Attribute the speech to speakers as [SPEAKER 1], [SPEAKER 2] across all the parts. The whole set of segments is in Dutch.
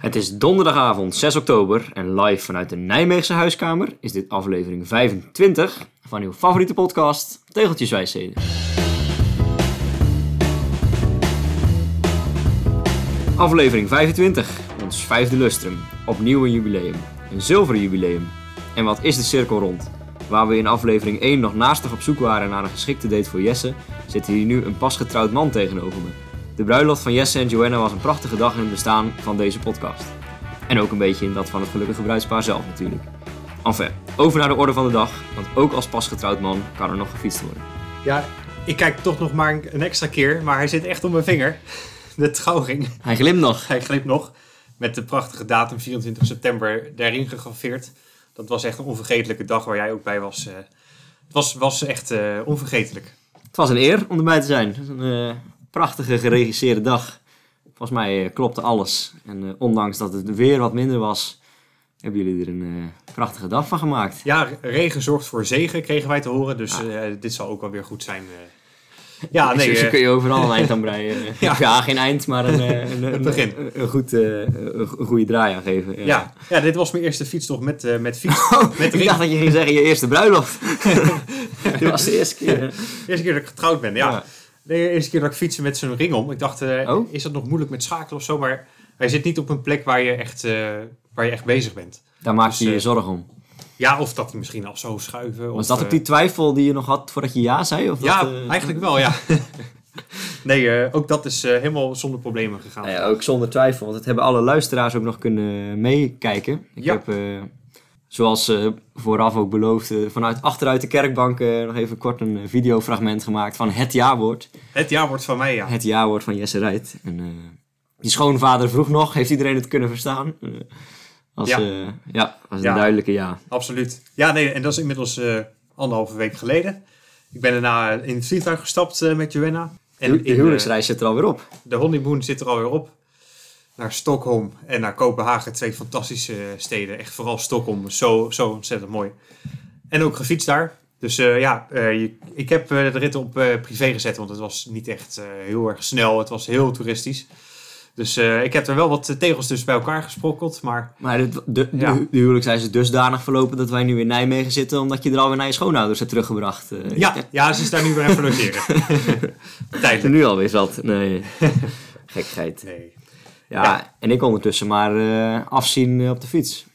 [SPEAKER 1] Het is donderdagavond 6 oktober en live vanuit de Nijmeegse huiskamer is dit aflevering 25 van uw favoriete podcast Tegeltjeswijsheden. Aflevering 25, ons vijfde lustrum. Opnieuw een jubileum. Een zilveren jubileum. En wat is de cirkel rond? Waar we in aflevering 1 nog naastig op zoek waren naar een geschikte date voor Jesse, zit hier nu een pasgetrouwd man tegenover me. De bruiloft van Jesse en Joanna was een prachtige dag in het bestaan van deze podcast. En ook een beetje in dat van het gelukkige bruidspaar zelf natuurlijk. Enfin, over naar de orde van de dag, want ook als pasgetrouwd man kan er nog gefietst worden.
[SPEAKER 2] Ja, ik kijk toch nog maar een een extra keer, maar hij zit echt op mijn vinger. De trouwring.
[SPEAKER 1] Hij glimt nog.
[SPEAKER 2] Hij glipt nog met de prachtige datum 24 september daarin gegraveerd. Dat was echt een onvergetelijke dag waar jij ook bij was. eh. Het was, was echt eh, onvergetelijk.
[SPEAKER 1] Het was een eer om erbij te zijn. Het was een eh, prachtige geregisseerde dag. Volgens mij eh, klopte alles. En eh, ondanks dat het weer wat minder was, hebben jullie er een eh, prachtige dag van gemaakt.
[SPEAKER 2] Ja, regen zorgt voor zegen, kregen wij te horen. Dus eh, dit zal ook wel weer goed zijn. eh. Ja, nee.
[SPEAKER 1] Dus
[SPEAKER 2] eh,
[SPEAKER 1] kun je overal een eind aan breien. Eh, ja.
[SPEAKER 2] Ja.
[SPEAKER 1] geen eind, maar een, eh, een, een-
[SPEAKER 2] begin.
[SPEAKER 1] Een, een goed, eh, een go- een goede draai aan geven. Ja.
[SPEAKER 2] ja, ja, dit was mijn eerste fietstocht met, eh, met fiets. met
[SPEAKER 1] Oh, Ik
[SPEAKER 2] ring.
[SPEAKER 1] dacht dat je ging zeggen je eerste bruiloft. Dit was de eerste keer.
[SPEAKER 2] eerste keer dat ik getrouwd ben, ja.
[SPEAKER 1] Ja.
[SPEAKER 2] De eerste keer dat ik fietsen met zo'n ring om. Ik dacht, eh,
[SPEAKER 1] Oh.
[SPEAKER 2] is dat nog moeilijk met schakelen of zo? Maar hij zit niet op een plek waar je echt, eh, waar je echt bezig bent.
[SPEAKER 1] Daar maak je
[SPEAKER 2] Dus,
[SPEAKER 1] je
[SPEAKER 2] eh,
[SPEAKER 1] zorgen om.
[SPEAKER 2] Ja, of dat hij misschien al zo schuiven.
[SPEAKER 1] Was
[SPEAKER 2] of,
[SPEAKER 1] dat
[SPEAKER 2] eh,
[SPEAKER 1] ook die twijfel die je nog had voordat je ja zei? Of
[SPEAKER 2] Ja,
[SPEAKER 1] dat, eh,
[SPEAKER 2] eigenlijk wel, ja. nee, eh, ook dat is eh, helemaal zonder problemen gegaan.
[SPEAKER 1] Nou ja, ook zonder twijfel, want het hebben alle luisteraars ook nog kunnen meekijken. Ik
[SPEAKER 2] Ja.
[SPEAKER 1] heb, eh, zoals eh, vooraf ook beloofd, eh, vanuit achteruit de kerkbank eh, nog even kort een eh, videofragment gemaakt van het jaarwoord.
[SPEAKER 2] Het jaar wordt van mij, ja.
[SPEAKER 1] Het jaarwoord van Jesse Rijt. En eh, die schoonvader vroeg nog, heeft iedereen het kunnen verstaan? Eh, als,
[SPEAKER 2] Ja.
[SPEAKER 1] ja. ja, als een
[SPEAKER 2] Ja.
[SPEAKER 1] duidelijke ja.
[SPEAKER 2] Absoluut. Ja, nee, en dat is inmiddels eh, anderhalve week geleden. Ik ben daarna eh, in het vliegtuig gestapt eh, met Joanna. En
[SPEAKER 1] En de
[SPEAKER 2] in, eh,
[SPEAKER 1] huwelijksreis zit er alweer op.
[SPEAKER 2] De honeymoon zit er alweer op. Naar Stockholm en naar Kopenhagen. Twee fantastische eh, steden. Echt vooral Stockholm. Zo, zo ontzettend mooi. En ook gefietst daar. Dus eh, ja, eh, je- ik heb eh, de rit op eh, privé gezet. Want het was niet echt eh, heel erg snel. Het was heel toeristisch. Dus eh, ik heb er wel wat eh, tegels dus bij elkaar gesprokkeld. Maar
[SPEAKER 1] Maar de, de, de,
[SPEAKER 2] Ja.
[SPEAKER 1] de huwelijksreis is dusdanig verlopen dat wij nu in Nijmegen zitten, omdat je er alweer naar je schoonouders hebt teruggebracht. Eh,
[SPEAKER 2] ja, ja ze is daar nu weer even logeren.
[SPEAKER 1] En
[SPEAKER 2] Tijdelijk.
[SPEAKER 1] nu alweer zat. Nee. Gekheid.
[SPEAKER 2] Nee.
[SPEAKER 1] Ja, en ik ondertussen maar eh, afzien eh, op de fiets.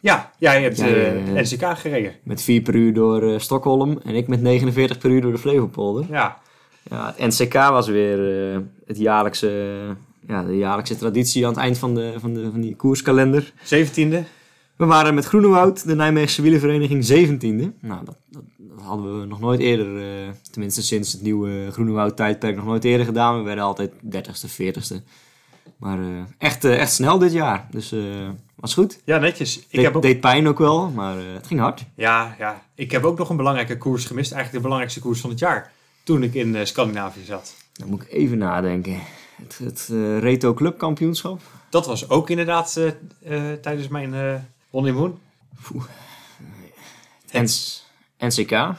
[SPEAKER 2] Ja, ja, je hebt
[SPEAKER 1] Ja, ja,
[SPEAKER 2] eh,
[SPEAKER 1] ja, ja.
[SPEAKER 2] NCK gereden.
[SPEAKER 1] Met 4 per uur door eh, Stockholm en ik met 49 per uur door de Flevopolder.
[SPEAKER 2] Ja,
[SPEAKER 1] Ja, het NCK was weer eh, het jaarlijkse, ja, de jaarlijkse traditie aan het eind van, de, van, de, van die koerskalender.
[SPEAKER 2] 17e.
[SPEAKER 1] We waren met Groenewoud, de Nijmeegse wielenvereniging, 17e. Nou, dat, dat, dat hadden we nog nooit eerder, eh, tenminste sinds het nieuwe Groenewoud-tijdperk, nog nooit eerder gedaan. We werden altijd 30ste, 40ste. Maar eh, echt, eh, echt snel dit jaar. Dus eh, was goed.
[SPEAKER 2] Ja, netjes. Ik
[SPEAKER 1] Ik
[SPEAKER 2] heb ook
[SPEAKER 1] deed pijn ook wel, maar eh, het ging hard.
[SPEAKER 2] Ja, ja, ik heb ook nog een belangrijke koers gemist. Eigenlijk de belangrijkste koers van het jaar. Toen ik in eh, Scandinavië zat.
[SPEAKER 1] Dan moet ik even nadenken. Het, het eh, Reto Club kampioenschap.
[SPEAKER 2] Dat was ook inderdaad eh, eh, tijdens mijn eh, honeymoon.
[SPEAKER 1] Ens- NCK.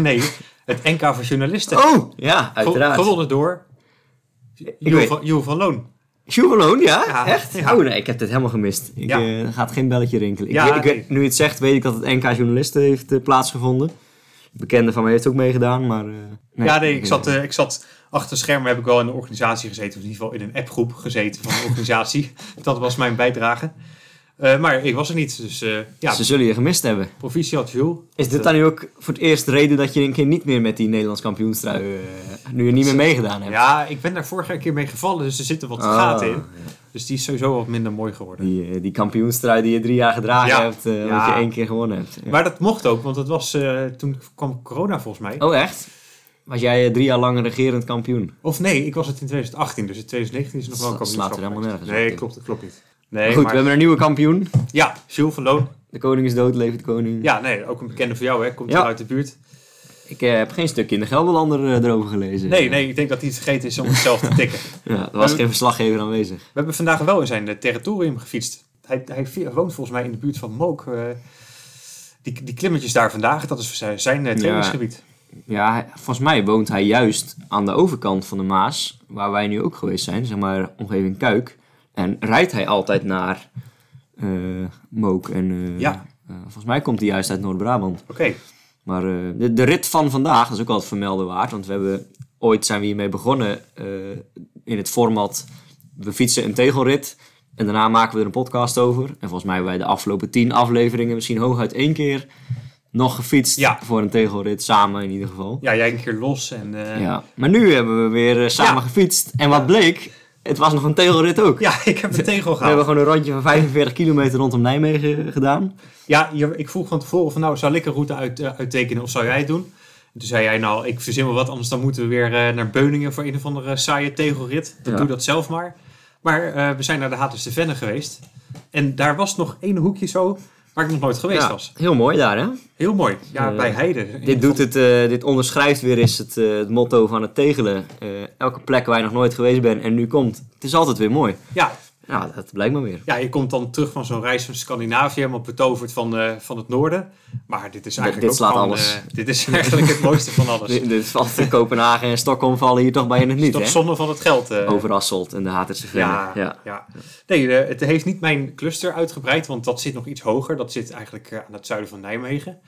[SPEAKER 2] nee, het NK voor journalisten.
[SPEAKER 1] Oh! Ja,
[SPEAKER 2] Ge-
[SPEAKER 1] uiteraard.
[SPEAKER 2] Gewonnen door Joel
[SPEAKER 1] weet-
[SPEAKER 2] van, Joel van Loon.
[SPEAKER 1] Sjoe Malone, ja?
[SPEAKER 2] Ja,
[SPEAKER 1] Echt?
[SPEAKER 2] ja.
[SPEAKER 1] Oh nee, ik heb dit helemaal gemist. Ik
[SPEAKER 2] Ja.
[SPEAKER 1] eh, gaat geen belletje rinkelen. Ik
[SPEAKER 2] Ja,
[SPEAKER 1] weet- ik weet-
[SPEAKER 2] nee.
[SPEAKER 1] nu je het zegt, weet ik dat het NK Journalisten heeft eh, plaatsgevonden. Een bekende van mij heeft ook meegedaan, maar... eh, nee.
[SPEAKER 2] ja, nee, ik zat, eh, ik zat achter schermen. Heb ik wel in een organisatie gezeten. Of in ieder geval in een appgroep gezeten van een organisatie. Dat was mijn bijdrage. Eh, maar ik was er niet. Dus eh, ja,
[SPEAKER 1] Ze zullen je gemist hebben.
[SPEAKER 2] proficiat Jules.
[SPEAKER 1] Is dit dan nu ook voor het eerst de reden dat je een keer niet meer met die Nederlands kampioenstrui... eh, nu je niet meer meegedaan hebt?
[SPEAKER 2] Ja, ik ben daar vorige keer mee gevallen, dus er zitten wat
[SPEAKER 1] Ah.
[SPEAKER 2] gaten in. Dus die is sowieso wat minder mooi geworden.
[SPEAKER 1] Die, eh, die kampioenstrui die je drie jaar gedragen
[SPEAKER 2] Ja.
[SPEAKER 1] hebt, eh
[SPEAKER 2] Ja.
[SPEAKER 1] dat je één keer gewonnen hebt. Ja.
[SPEAKER 2] Maar dat mocht ook, want het was, eh, toen kwam corona volgens mij.
[SPEAKER 1] Oh echt? Was jij eh, drie jaar lang regerend kampioen?
[SPEAKER 2] Of nee, ik was het in 2018, dus in 2019 is het nog wel een
[SPEAKER 1] Dat slaat
[SPEAKER 2] kampioenschap.
[SPEAKER 1] er helemaal
[SPEAKER 2] geweest.
[SPEAKER 1] nergens op,
[SPEAKER 2] Nee,
[SPEAKER 1] dit.
[SPEAKER 2] klopt, klopt niet.
[SPEAKER 1] Maar
[SPEAKER 2] Nee,
[SPEAKER 1] goed,
[SPEAKER 2] maar-
[SPEAKER 1] we hebben een nieuwe kampioen.
[SPEAKER 2] ja, Jules van Loon.
[SPEAKER 1] De koning is dood, leeft de koning.
[SPEAKER 2] Ja, nee, ook een bekende van jou, hè. Komt
[SPEAKER 1] Ja.
[SPEAKER 2] hier uit de buurt.
[SPEAKER 1] Ik eh, heb geen stukje in de Gelderlander eh, erover gelezen.
[SPEAKER 2] Nee, nee, ik denk dat hij het vergeten is om het zelf te tikken.
[SPEAKER 1] Ja, er was geen verslaggever aanwezig.
[SPEAKER 2] We hebben vandaag wel in zijn eh, territorium gefietst. Hij, hij vi- woont volgens mij in de buurt van Mook. eh, die, die klimmetjes daar vandaag, dat is zijn, zijn eh, trainingsgebied.
[SPEAKER 1] Ja, hij- volgens mij woont hij juist aan de overkant van de Maas, waar wij nu ook geweest zijn, zeg maar omgeving Kuik. En rijdt hij altijd naar eh, Mook. En, eh,
[SPEAKER 2] Ja.
[SPEAKER 1] eh, volgens mij komt hij juist uit Noord-Brabant.
[SPEAKER 2] Oké,
[SPEAKER 1] Maar eh, de, de rit van vandaag is ook altijd vermelden waard. Want we hebben, ooit zijn we hiermee begonnen eh, in het format... We fietsen een tegelrit en daarna maken we er een podcast over. En volgens mij hebben wij de afgelopen tien afleveringen misschien hooguit één keer nog gefietst
[SPEAKER 2] Ja.
[SPEAKER 1] voor een tegelrit. Samen in ieder geval.
[SPEAKER 2] ja, jij een keer los en eh, ja.
[SPEAKER 1] Ja. Maar nu hebben we weer eh, samen gefietst. En wat bleek, het was nog een tegelrit ook.
[SPEAKER 2] ik heb een tegel
[SPEAKER 1] We
[SPEAKER 2] gehaald.
[SPEAKER 1] hebben gewoon een rondje van 45 kilometer rondom Nijmegen eh, gedaan.
[SPEAKER 2] Ja, je- ik vroeg van tevoren van nou, zou ik een route uit, eh, uittekenen of zou jij het doen? En toen zei jij nou, ik verzin wel wat, anders dan moeten we weer eh, naar Beuningen voor een of andere saaie tegelrit. Dan
[SPEAKER 1] Ja.
[SPEAKER 2] doe dat zelf maar. Maar eh, we zijn naar de Haterse Venne geweest. En daar was nog één hoekje zo waar ik nog nooit geweest
[SPEAKER 1] Ja,
[SPEAKER 2] was.
[SPEAKER 1] heel mooi daar hè?
[SPEAKER 2] Heel mooi. Ja,
[SPEAKER 1] Eh,
[SPEAKER 2] bij Heide.
[SPEAKER 1] Dit, doet het, eh, dit onderschrijft weer eens het, eh, het motto van het tegelen. Eh, elke plek waar je nog nooit geweest bent en nu komt, het is altijd weer mooi.
[SPEAKER 2] Ja,
[SPEAKER 1] Nou, dat blijkt maar weer.
[SPEAKER 2] ja, je komt dan terug van zo'n reis van Scandinavië, helemaal betoverd van, eh, van het noorden. Maar dit is eigenlijk
[SPEAKER 1] dit
[SPEAKER 2] ook
[SPEAKER 1] slaat
[SPEAKER 2] gewoon,
[SPEAKER 1] alles.
[SPEAKER 2] eh, dit is eigenlijk het mooiste van alles.
[SPEAKER 1] Dit dit valt in Kopenhagen en Stockholm vallen hier toch bij in het
[SPEAKER 2] Het is
[SPEAKER 1] niet
[SPEAKER 2] toch
[SPEAKER 1] hè?
[SPEAKER 2] zonde van het geld. eh.
[SPEAKER 1] Over Asselt en de Haterse Venne.
[SPEAKER 2] Ja, ja. Nee, eh, het heeft niet mijn cluster uitgebreid, want dat zit nog iets hoger. Dat zit eigenlijk eh, aan het zuiden van Nijmegen.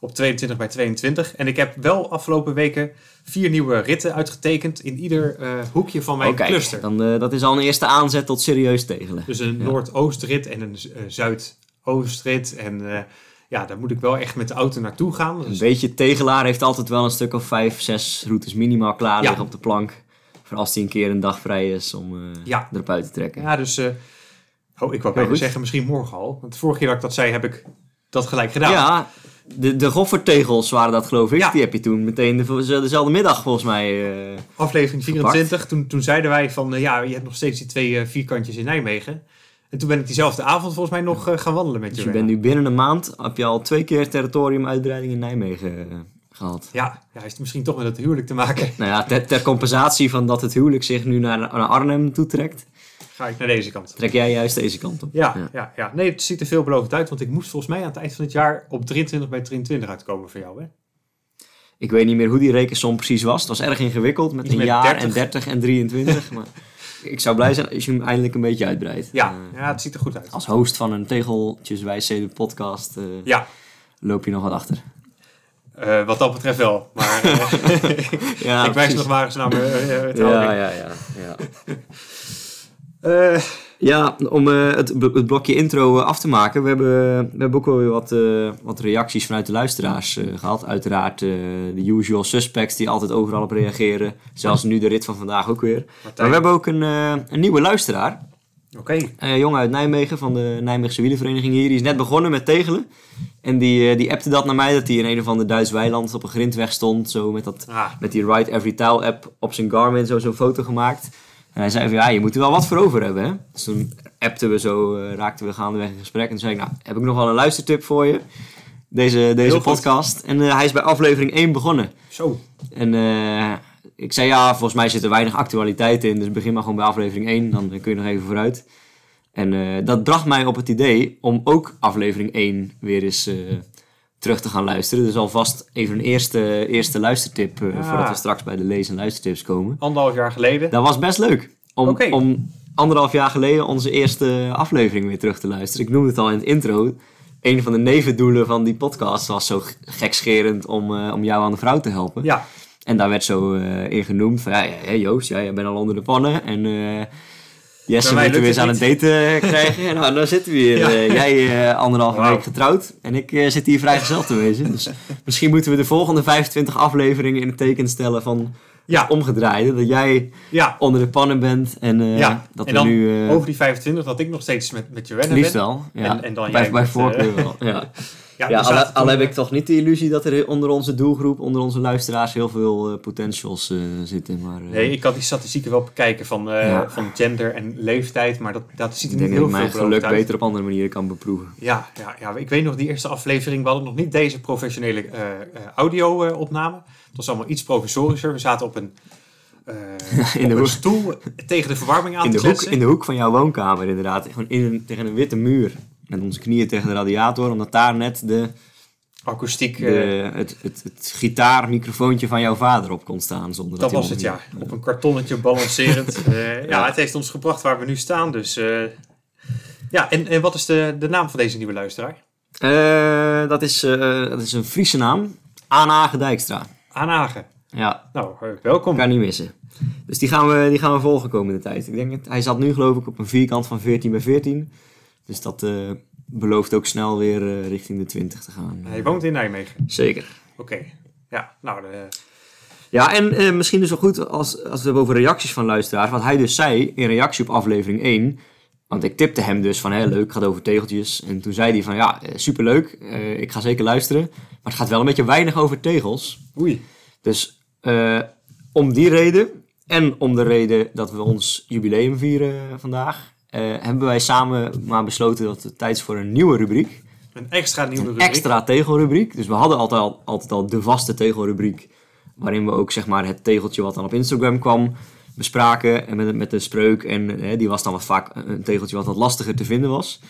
[SPEAKER 2] Op 22 bij 22. En ik heb wel afgelopen weken vier nieuwe ritten uitgetekend in ieder eh, hoekje van mijn
[SPEAKER 1] Oh, kijk,
[SPEAKER 2] cluster.
[SPEAKER 1] dan, eh, dat is al een eerste aanzet tot serieus tegelen.
[SPEAKER 2] Dus een
[SPEAKER 1] Ja.
[SPEAKER 2] noordoostrit en een eh, zuidoostrit. En eh, ja, daar moet ik wel echt met de auto naartoe gaan.
[SPEAKER 1] Een
[SPEAKER 2] Dus,
[SPEAKER 1] beetje tegelaar heeft altijd wel een stuk of vijf, zes routes minimaal klaar
[SPEAKER 2] Ja.
[SPEAKER 1] liggen op de plank. Voor als hij een keer een dag vrij is om eh,
[SPEAKER 2] Ja.
[SPEAKER 1] erop uit te trekken.
[SPEAKER 2] ja, dus... eh, oh, ik wou bijna
[SPEAKER 1] goed.
[SPEAKER 2] zeggen, misschien morgen al. Want de vorige keer dat ik dat zei, heb ik dat gelijk gedaan.
[SPEAKER 1] Ja, de, de goffertegels waren dat geloof ik.
[SPEAKER 2] Ja.
[SPEAKER 1] Die heb je toen meteen de- dezelfde middag volgens mij. eh,
[SPEAKER 2] aflevering 24, toen, toen zeiden wij van eh, ja, je hebt nog steeds die twee eh, vierkantjes in Nijmegen. En toen ben ik diezelfde avond volgens mij nog eh, gaan wandelen met
[SPEAKER 1] dus je
[SPEAKER 2] Joanna.
[SPEAKER 1] bent nu binnen een maand, heb je al twee keer territoriumuitbreiding in Nijmegen eh, gehad.
[SPEAKER 2] Ja, ja, hij heeft misschien toch met het huwelijk te maken.
[SPEAKER 1] Nou ja, ter, ter compensatie van dat het huwelijk zich nu naar, naar Arnhem toetrekt,
[SPEAKER 2] Ga ik naar deze kant.
[SPEAKER 1] trek jij juist deze kant op.
[SPEAKER 2] Ja, ja.
[SPEAKER 1] Ja.
[SPEAKER 2] ja, Nee, het ziet er veelbelovend uit, want ik moest volgens mij aan het eind van het jaar op 23 bij 23 uitkomen voor jou. Hè?
[SPEAKER 1] Ik weet niet meer hoe die rekensom precies was. Het was erg ingewikkeld met
[SPEAKER 2] Iets
[SPEAKER 1] een
[SPEAKER 2] met
[SPEAKER 1] jaar
[SPEAKER 2] 30.
[SPEAKER 1] en 30 en 23. maar ik zou blij zijn als je hem eindelijk een beetje uitbreidt.
[SPEAKER 2] Ja,
[SPEAKER 1] Eh,
[SPEAKER 2] ja, het ziet er goed uit.
[SPEAKER 1] als host van een Tegeltjeswijsheden podcast eh,
[SPEAKER 2] Ja,
[SPEAKER 1] loop je nog wat achter.
[SPEAKER 2] eh, wat dat betreft wel. Maar eh,
[SPEAKER 1] Ja,
[SPEAKER 2] ik wijs
[SPEAKER 1] precies.
[SPEAKER 2] nog maar eens naar mijn eh, eh, het
[SPEAKER 1] Ja,
[SPEAKER 2] oude ding.
[SPEAKER 1] ja, ja. Ja,
[SPEAKER 2] Eh,
[SPEAKER 1] ja om eh, het, bl- het blokje intro eh, af te maken. We hebben, we hebben ook wel weer wat, eh, wat reacties vanuit de luisteraars eh, gehad. Uiteraard eh, de usual suspects die altijd overal op reageren. Zelfs nu de rit van vandaag ook weer. Maar
[SPEAKER 2] Martijn.
[SPEAKER 1] we hebben ook een, eh, een nieuwe luisteraar.
[SPEAKER 2] Oké.
[SPEAKER 1] Een jongen uit Nijmegen van de Nijmeegse wielenvereniging hier. Die is net begonnen met tegelen. En die, eh, die appte dat naar mij dat hij in een of ander Duits weiland op een grindweg stond. Zo met dat
[SPEAKER 2] Ah,
[SPEAKER 1] met die Ride Every Tile app op zijn Garmin zo zo'n foto gemaakt. En hij zei van, ja, je moet er wel wat voor over hebben, hè. Dus toen appten we zo, eh, raakten we gaandeweg in gesprek. En toen zei ik, nou, heb ik nog wel een luistertip voor je. Deze, deze
[SPEAKER 2] Heel goed.
[SPEAKER 1] podcast. En eh, hij is bij aflevering 1 begonnen.
[SPEAKER 2] zo.
[SPEAKER 1] En eh, ik zei, ja, volgens mij zit er weinig actualiteit in. Dus begin maar gewoon bij aflevering 1, dan eh, kun je nog even vooruit. En eh, dat bracht mij op het idee om ook aflevering 1 weer eens eh, terug te gaan luisteren. Dus alvast even een eerste, eerste luistertip, eh,
[SPEAKER 2] Ah.
[SPEAKER 1] voordat we straks bij de lees- en luistertips komen.
[SPEAKER 2] Anderhalf jaar geleden.
[SPEAKER 1] Dat was best leuk. Om,
[SPEAKER 2] Oké.
[SPEAKER 1] om anderhalf jaar geleden onze eerste aflevering weer terug te luisteren. Ik noemde het al in het intro. Een van de nevendoelen van die podcast was zo g- gekscherend om, eh, om jou aan de vrouw te helpen.
[SPEAKER 2] Ja,
[SPEAKER 1] En daar werd zo eh, in genoemd van, ja, ja, ja, Joost, ja, jij bent al onder de pannen. En eh Jesse
[SPEAKER 2] Bij mij
[SPEAKER 1] moet
[SPEAKER 2] lukt
[SPEAKER 1] weer eens
[SPEAKER 2] het
[SPEAKER 1] aan het daten krijgen. En nou, daar zitten we hier.
[SPEAKER 2] Ja.
[SPEAKER 1] Eh, jij eh, anderhalve
[SPEAKER 2] Wauw.
[SPEAKER 1] week getrouwd en ik eh, zit hier vrijgezel te wezen. Dus misschien moeten we de volgende 25 afleveringen in het teken stellen van
[SPEAKER 2] ja,
[SPEAKER 1] omgedraaide. Dat jij
[SPEAKER 2] ja.
[SPEAKER 1] onder de pannen bent en eh,
[SPEAKER 2] Ja,
[SPEAKER 1] dat
[SPEAKER 2] en
[SPEAKER 1] we
[SPEAKER 2] dan
[SPEAKER 1] nu... eh,
[SPEAKER 2] Over die 25, dat ik nog steeds met, met Joanna
[SPEAKER 1] liefst
[SPEAKER 2] ben.
[SPEAKER 1] wel. Ja.
[SPEAKER 2] En- en dan
[SPEAKER 1] bij
[SPEAKER 2] jij
[SPEAKER 1] bij
[SPEAKER 2] met,
[SPEAKER 1] voorkeur wel. Ja.
[SPEAKER 2] Ja, dus
[SPEAKER 1] Ja,
[SPEAKER 2] we
[SPEAKER 1] al,
[SPEAKER 2] zaten
[SPEAKER 1] al
[SPEAKER 2] toen-
[SPEAKER 1] heb ik toch niet de illusie dat er onder onze doelgroep, onder onze luisteraars, heel veel eh, potentials eh, zitten. Maar, eh,
[SPEAKER 2] Nee, ik had die statistieken wel bekijken van, eh,
[SPEAKER 1] Ja.
[SPEAKER 2] van gender en leeftijd, maar dat, dat ziet er
[SPEAKER 1] Ik denk
[SPEAKER 2] niet
[SPEAKER 1] dat ik
[SPEAKER 2] heel
[SPEAKER 1] mijn
[SPEAKER 2] veel
[SPEAKER 1] geluk
[SPEAKER 2] beloofd uit.
[SPEAKER 1] beter op andere manieren kan beproeven.
[SPEAKER 2] Ja, ja, ja, ik weet nog die eerste aflevering, we hadden nog niet deze professionele eh, eh, audio eh, opname. Het was allemaal iets provisorischer. We zaten op een, eh,
[SPEAKER 1] In
[SPEAKER 2] op
[SPEAKER 1] de
[SPEAKER 2] een
[SPEAKER 1] hoek.
[SPEAKER 2] stoel tegen de verwarming aan
[SPEAKER 1] In de,
[SPEAKER 2] te
[SPEAKER 1] hoek,
[SPEAKER 2] kletsen.
[SPEAKER 1] in de hoek van jouw woonkamer inderdaad. Gewoon in, een- tegen een witte muur. Met onze knieën tegen de radiator. Omdat daar net de
[SPEAKER 2] Akoestiek, eh,
[SPEAKER 1] de, het, het, het gitaarmicrofoontje van jouw vader op kon staan. Zonder dat,
[SPEAKER 2] dat
[SPEAKER 1] hij
[SPEAKER 2] was het
[SPEAKER 1] nog-
[SPEAKER 2] ja. Op een kartonnetje balancerend. Eh, ja, het heeft ons gebracht waar we nu staan. Dus eh, ja, en, en wat is de, de naam van deze nieuwe luisteraar?
[SPEAKER 1] Eh, dat, is, eh, dat is een Friese naam. Anage Dijkstra.
[SPEAKER 2] Aanhagen.
[SPEAKER 1] Ja,
[SPEAKER 2] Nou, eh, welkom.
[SPEAKER 1] kan niet missen. Dus die gaan we, die gaan we volgen komende tijd. Ik denk het, hij zat nu geloof ik op een vierkant van 14 bij 14. Dus dat eh, belooft ook snel weer eh, richting de 20 te gaan.
[SPEAKER 2] Hij woont in Nijmegen.
[SPEAKER 1] Zeker.
[SPEAKER 2] Oké. Ja, nou, de,
[SPEAKER 1] Ja, en eh, misschien dus wel goed als, als we het hebben over reacties van luisteraars. Wat hij dus zei in reactie op aflevering 1. Want ik tipte hem dus van, hé, leuk, gaat over tegeltjes. En toen zei hij van, ja, eh, superleuk, eh, ik ga zeker luisteren. Maar het gaat wel een beetje weinig over tegels.
[SPEAKER 2] oei.
[SPEAKER 1] Dus eh, om die reden en om de reden dat we ons jubileum vieren vandaag... eh, hebben wij samen maar besloten dat het tijd is voor een nieuwe rubriek.
[SPEAKER 2] Een extra nieuwe rubriek.
[SPEAKER 1] Extra tegelrubriek. Dus we hadden altijd al, altijd al de vaste tegelrubriek... waarin we ook zeg maar, het tegeltje wat dan op Instagram kwam bespraken... en met, met de spreuk. En eh, die was dan wat vaak een tegeltje wat wat lastiger te vinden was...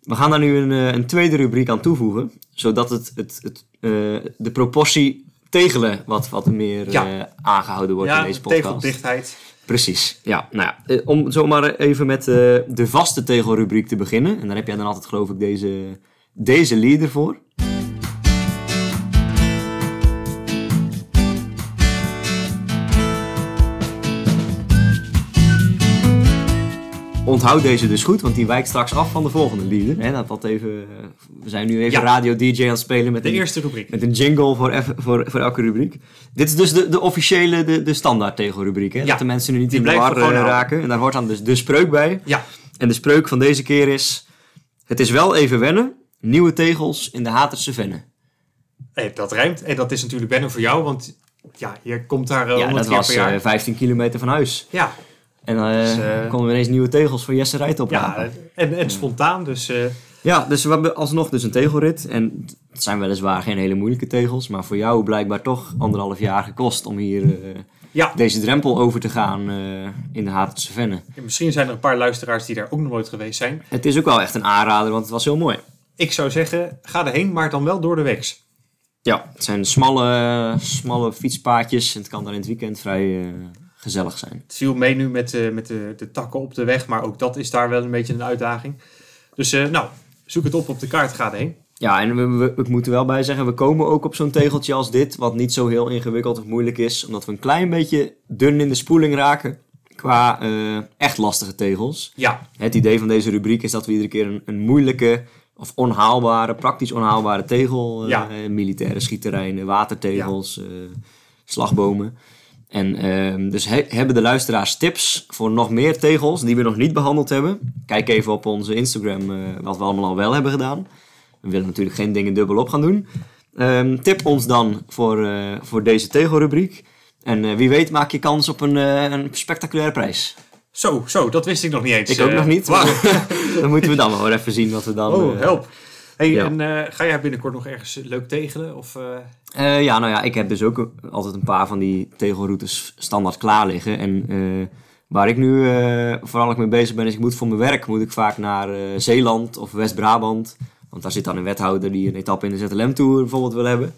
[SPEAKER 1] We gaan daar nu een, eh, een tweede rubriek aan toevoegen, zodat het, het, het, eh, de proportie tegelen wat, wat meer
[SPEAKER 2] Ja.
[SPEAKER 1] eh, aangehouden wordt in
[SPEAKER 2] Ja,
[SPEAKER 1] deze podcast.
[SPEAKER 2] tegeldichtheid.
[SPEAKER 1] Precies, ja. Nou ja, eh, om zomaar even met eh, de vaste tegelrubriek te beginnen. En daar heb jij dan altijd geloof ik deze, deze leader voor. Onthoud deze dus goed, want die wijkt straks af van de volgende leader. Hè, dat, dat even, eh, we zijn nu even
[SPEAKER 2] Ja.
[SPEAKER 1] radio-dj aan het spelen met
[SPEAKER 2] De
[SPEAKER 1] een-
[SPEAKER 2] eerste rubriek.
[SPEAKER 1] met een jingle voor, eff- voor, voor elke rubriek. Dit is dus de, de officiële, de, de standaard tegelrubriek. Hè?
[SPEAKER 2] Ja,
[SPEAKER 1] dat de mensen nu niet
[SPEAKER 2] die
[SPEAKER 1] in de
[SPEAKER 2] blijven
[SPEAKER 1] war
[SPEAKER 2] we gewoon
[SPEAKER 1] eh,
[SPEAKER 2] houden.
[SPEAKER 1] raken. En daar hoort dan dus de spreuk bij.
[SPEAKER 2] Ja,
[SPEAKER 1] En de spreuk van deze keer is... Het is wel even wennen. Nieuwe tegels in de Haterse Vennen.
[SPEAKER 2] hey, eh, dat rijmt. En dat is natuurlijk wennen voor jou, want ja, je komt daar eh,
[SPEAKER 1] ja,
[SPEAKER 2] 100
[SPEAKER 1] dat
[SPEAKER 2] keer
[SPEAKER 1] was
[SPEAKER 2] per jaar.
[SPEAKER 1] eh, 15 kilometer van huis.
[SPEAKER 2] ja,
[SPEAKER 1] En dan eh
[SPEAKER 2] Dus, eh,
[SPEAKER 1] konden we ineens nieuwe tegels voor Jesse Rijt op.
[SPEAKER 2] ja en, en spontaan. Dus eh,
[SPEAKER 1] ja, dus we hebben alsnog dus een tegelrit. En het zijn weliswaar geen hele moeilijke tegels. Maar voor jou blijkbaar toch anderhalf jaar gekost om hier... eh,
[SPEAKER 2] ja,
[SPEAKER 1] deze drempel over te gaan eh, in de Haterse Vennen.
[SPEAKER 2] misschien zijn er een paar luisteraars die daar ook nog nooit geweest zijn.
[SPEAKER 1] Het is ook wel echt een aanrader, want het was heel mooi.
[SPEAKER 2] Ik zou zeggen, ga erheen, maar dan wel door de weeks.
[SPEAKER 1] Ja, het zijn smalle, smalle fietspaadjes en het kan dan in het weekend vrij eh, gezellig zijn.
[SPEAKER 2] Het viel mee nu met, eh, met de, de takken op de weg, maar ook dat is daar wel een beetje een uitdaging. Dus eh, nou, zoek het op op de kaart, ga erheen.
[SPEAKER 1] Ja, en we, we, ik moet er wel bij zeggen, we komen ook op zo'n tegeltje als dit, wat niet zo heel ingewikkeld of moeilijk is, omdat we een klein beetje dun in de spoeling raken qua eh, echt lastige tegels.
[SPEAKER 2] Ja,
[SPEAKER 1] Het idee van deze rubriek is dat we iedere keer een, een moeilijke of onhaalbare, praktisch onhaalbare tegel, eh,
[SPEAKER 2] Ja.
[SPEAKER 1] eh, militaire schietterreinen, watertegels, eh, slagbomen. En ehm, dus he- hebben de luisteraars tips voor nog meer tegels die we nog niet behandeld hebben? Kijk even op onze Instagram eh, wat we allemaal al wel hebben gedaan. We willen natuurlijk geen dingen dubbel op gaan doen. Ehm, tip ons dan voor, eh, voor deze tegelrubriek. En eh, wie weet maak je kans op een, eh, een spectaculaire prijs.
[SPEAKER 2] zo, zo, dat wist ik nog niet eens.
[SPEAKER 1] Ik ook
[SPEAKER 2] Eh,
[SPEAKER 1] nog niet.
[SPEAKER 2] wauw.
[SPEAKER 1] Dan moeten we dan maar even zien wat we dan...
[SPEAKER 2] Oh,
[SPEAKER 1] eh,
[SPEAKER 2] help. Hey,
[SPEAKER 1] ja.
[SPEAKER 2] en eh, ga jij binnenkort nog ergens leuk tegelen? Of, eh,
[SPEAKER 1] eh, ja, nou ja, ik heb dus ook een- altijd een paar van die tegelroutes standaard klaar liggen. En eh, waar ik nu eh, vooral ook mee bezig ben, is ik moet voor mijn werk moet ik vaak naar eh, Zeeland of West-Brabant. Want daar zit dan een wethouder die een etappe in de ZLM Tour bijvoorbeeld wil hebben.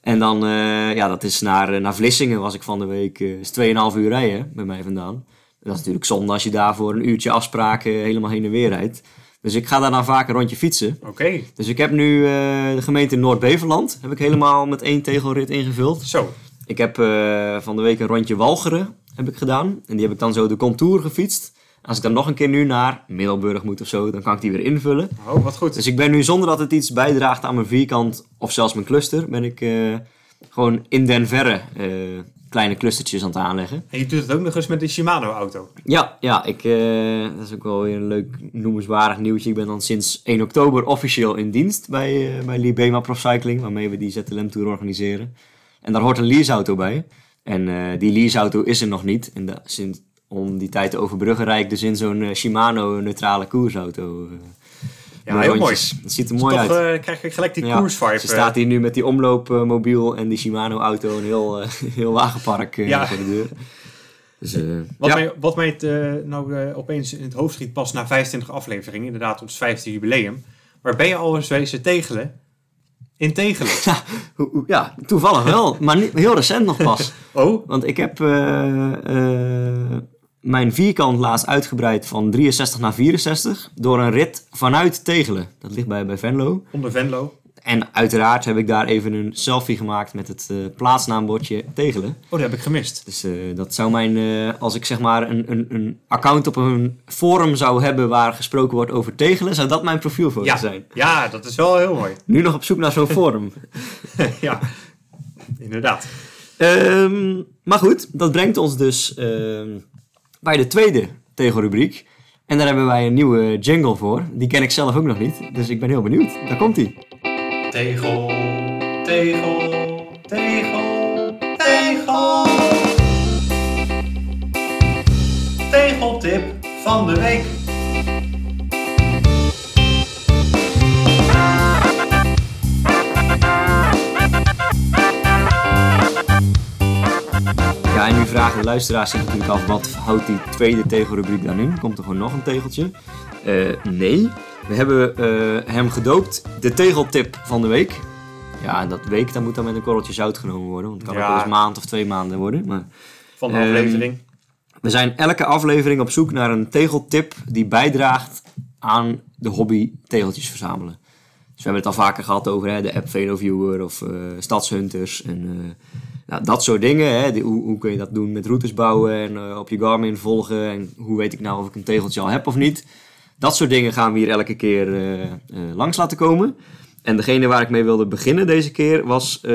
[SPEAKER 1] En dan, eh, ja, dat is naar, eh, naar Vlissingen was ik van de week. eh, is 2,5 uur rijden bij mij vandaan. Dat is natuurlijk zonde als je daarvoor een uurtje afspraken eh, helemaal heen en weer rijdt. Dus ik ga daar dan vaak een rondje fietsen.
[SPEAKER 2] Oké,
[SPEAKER 1] Dus ik heb nu eh, de gemeente Noord-Beverland heb ik helemaal met één tegelrit ingevuld.
[SPEAKER 2] zo.
[SPEAKER 1] Ik heb eh, van de week een rondje Walcheren heb ik gedaan. En die heb ik dan zo de contour gefietst. Als ik dan nog een keer nu naar Middelburg moet of zo, dan kan ik die weer invullen.
[SPEAKER 2] Oh, wat goed.
[SPEAKER 1] Dus ik ben nu zonder dat het iets bijdraagt aan mijn vierkant of zelfs mijn cluster, ben ik eh, gewoon in den verre eh, kleine clustertjes aan het aanleggen.
[SPEAKER 2] En je doet het ook nog eens met die Shimano-auto.
[SPEAKER 1] Ja, ja ik, eh, dat is ook wel weer een leuk noemenswaardig nieuwtje. Ik ben dan sinds 1 oktober officieel in dienst bij, eh, bij Libema Prof Cycling, waarmee we die ZLM Tour organiseren. En daar hoort een leaseauto bij. En eh, die leaseauto is er nog niet. En da- sinds, om die tijd te overbruggen rijd ik dus in zo'n eh, Shimano-neutrale koersauto. eh,
[SPEAKER 2] Ja,
[SPEAKER 1] mijn
[SPEAKER 2] heel mooi.
[SPEAKER 1] rondjes. Dat ziet er
[SPEAKER 2] Toch
[SPEAKER 1] mooi uit.
[SPEAKER 2] eh, krijg ik gelijk die
[SPEAKER 1] Ja,
[SPEAKER 2] koersvibe.
[SPEAKER 1] Ze
[SPEAKER 2] eh.
[SPEAKER 1] staat hier nu met die omloopmobiel en die Shimano-auto een heel, eh, heel wagenpark eh,
[SPEAKER 2] Ja.
[SPEAKER 1] voor de deur. Dus, eh,
[SPEAKER 2] Wat
[SPEAKER 1] ja.
[SPEAKER 2] mij, wat mij het, eh, nou eh, opeens in het hoofd schiet pas na 25 afleveringen, inderdaad ons 15e jubileum. Maar ben je al eens wezen tegelen? Integendeel.
[SPEAKER 1] Hoe- hoe- Ja, toevallig wel, maar niet, heel recent nog pas.
[SPEAKER 2] Oh,
[SPEAKER 1] Want ik heb eh, eh, mijn vierkant laatst uitgebreid van 63 naar 64 door een rit vanuit Tegelen. Dat ligt bij, bij Venlo.
[SPEAKER 2] onder Venlo.
[SPEAKER 1] En uiteraard heb ik daar even een selfie gemaakt met het eh, plaatsnaambordje Tegelen.
[SPEAKER 2] Oh, dat heb ik gemist.
[SPEAKER 1] Dus eh, dat zou mijn, eh, als ik zeg maar een, een, een account op een forum zou hebben waar gesproken wordt over Tegelen, zou dat mijn profielfoto
[SPEAKER 2] Ja,
[SPEAKER 1] zijn.
[SPEAKER 2] ja, dat is wel heel mooi.
[SPEAKER 1] Nu nog op zoek naar zo'n forum.
[SPEAKER 2] ja, inderdaad.
[SPEAKER 1] Ehm, maar goed, dat brengt ons dus ehm, bij de tweede tegelrubriek. En daar hebben wij een nieuwe jingle voor. Die ken ik zelf ook nog niet, dus ik ben heel benieuwd. Daar komt hij.
[SPEAKER 2] Tegel, tegel, tegel, tegel. Tegeltip van de week.
[SPEAKER 1] Ja, en nu vragen de luisteraars zich natuurlijk af, wat houdt die tweede tegelrubriek dan in? Komt er gewoon nog een tegeltje? Eh, nee, we hebben eh, hem gedoopt, de tegeltip van de week. Ja, en dat week, dat moet dan met een korreltje zout genomen worden. Want het kan
[SPEAKER 2] Ja.
[SPEAKER 1] ook wel eens maand of twee maanden worden. Maar...
[SPEAKER 2] Van de
[SPEAKER 1] Ehm,
[SPEAKER 2] aflevering.
[SPEAKER 1] We zijn elke aflevering op zoek naar een tegeltip die bijdraagt aan de hobby tegeltjes verzamelen. Dus we hebben het al vaker gehad over hè, de app Veloviewer of eh, Stadshunters en eh, nou, dat soort dingen. Hè. Die- hoe, hoe kun je dat doen met routes bouwen en eh, op je Garmin volgen en hoe weet ik nou of ik een tegeltje al heb of niet. Dat soort dingen gaan we hier elke keer eh, eh, langs laten komen. En degene waar ik mee wilde beginnen deze keer was ehm,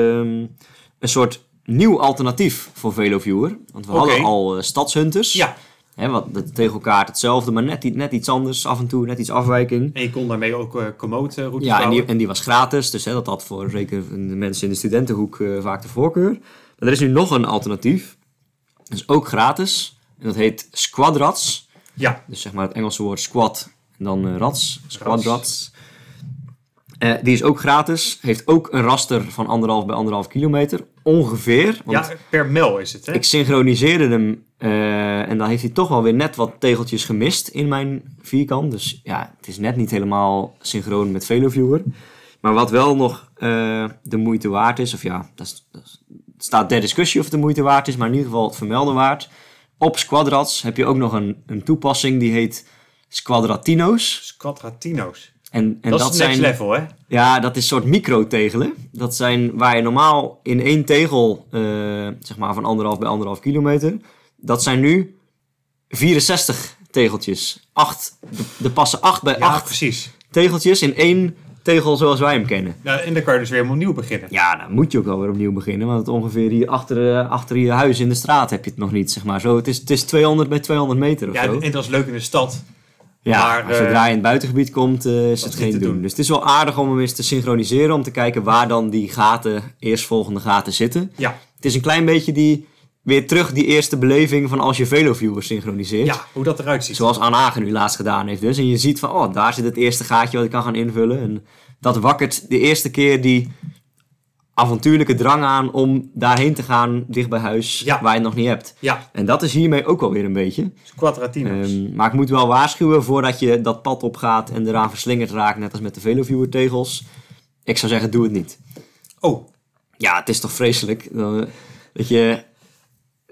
[SPEAKER 1] een soort nieuw alternatief voor Veloviewer. Want we
[SPEAKER 2] Oké.
[SPEAKER 1] hadden al eh, Stadshunters.
[SPEAKER 2] Ja,
[SPEAKER 1] Hè, wat, de tegelkaart hetzelfde, maar net, i- net iets anders af en toe, net iets afwijking.
[SPEAKER 2] en je kon daarmee ook eh commode routes
[SPEAKER 1] Ja, en die,
[SPEAKER 2] bouwen.
[SPEAKER 1] en die was gratis, dus hè, dat had voor zeker de mensen in de studentenhoek eh, vaak de voorkeur. Maar er is nu nog een alternatief, dat is ook gratis, en dat heet Squadrats.
[SPEAKER 2] Ja,
[SPEAKER 1] Dus zeg maar het Engelse woord squad en dan eh, rats, Squadrats. Eh, die is ook gratis, heeft ook een raster van anderhalf bij anderhalf kilometer, ongeveer. Want
[SPEAKER 2] ja, per mel is het, hè?
[SPEAKER 1] ik synchroniseerde hem eh, en dan heeft hij toch wel weer net wat tegeltjes gemist in mijn vierkant. Dus ja, het is net niet helemaal synchroon met Veloviewer. Maar wat wel nog eh, de moeite waard is, of ja, dat is- dat is- het staat ter discussie of het de moeite waard is, maar in ieder geval het vermelden waard. Op Squadrats heb je ook nog een, een toepassing die heet Squadratino's.
[SPEAKER 2] Quadratino's.
[SPEAKER 1] En, en
[SPEAKER 2] dat, is het next
[SPEAKER 1] zijn,
[SPEAKER 2] level, hè?
[SPEAKER 1] ja, dat is een soort micro-tegelen. Dat zijn waar je normaal in één tegel, eh, zeg maar van anderhalf bij anderhalf kilometer, dat zijn nu 64 tegeltjes. Acht, er passen acht bij
[SPEAKER 2] Ja,
[SPEAKER 1] acht
[SPEAKER 2] precies.
[SPEAKER 1] tegeltjes in één tegel zoals wij hem kennen.
[SPEAKER 2] Nou, en dan kan je dus weer helemaal nieuw beginnen.
[SPEAKER 1] Ja, dan moet je ook wel weer opnieuw beginnen, want het ongeveer hier achter, eh, achter je huis in de straat heb je het nog niet, zeg maar. Zo, het, is, het is 200 bij 200 meter of
[SPEAKER 2] Ja,
[SPEAKER 1] zo.
[SPEAKER 2] en dat is leuk in de stad.
[SPEAKER 1] Ja,
[SPEAKER 2] Maar,
[SPEAKER 1] maar
[SPEAKER 2] eh,
[SPEAKER 1] zodra je in het buitengebied komt, eh, is het
[SPEAKER 2] niet
[SPEAKER 1] geen
[SPEAKER 2] te
[SPEAKER 1] doen.
[SPEAKER 2] doen.
[SPEAKER 1] Dus het is wel aardig om hem eens te synchroniseren. Om te kijken waar dan die gaten, eerstvolgende gaten zitten.
[SPEAKER 2] Ja,
[SPEAKER 1] Het is een klein beetje die, weer terug die eerste beleving van als je Veloviewer synchroniseert.
[SPEAKER 2] ja hoe dat eruit ziet.
[SPEAKER 1] Zoals Anne Hagen nu laatst gedaan heeft dus. En je ziet van, oh, daar zit het eerste gaatje wat ik kan gaan invullen. En dat wakkert de eerste keer die avontuurlijke drang aan om daarheen te gaan, dicht bij huis,
[SPEAKER 2] Ja.
[SPEAKER 1] waar je het nog niet hebt.
[SPEAKER 2] Ja,
[SPEAKER 1] En dat is hiermee ook alweer een beetje.
[SPEAKER 2] Quadratino's.
[SPEAKER 1] Ehm, maar ik moet wel waarschuwen voordat je dat pad opgaat en eraan verslingerd raakt, net als met de Veloviewer tegels. Ik zou zeggen, doe het niet.
[SPEAKER 2] oh,
[SPEAKER 1] Ja, het is toch vreselijk eh, dat je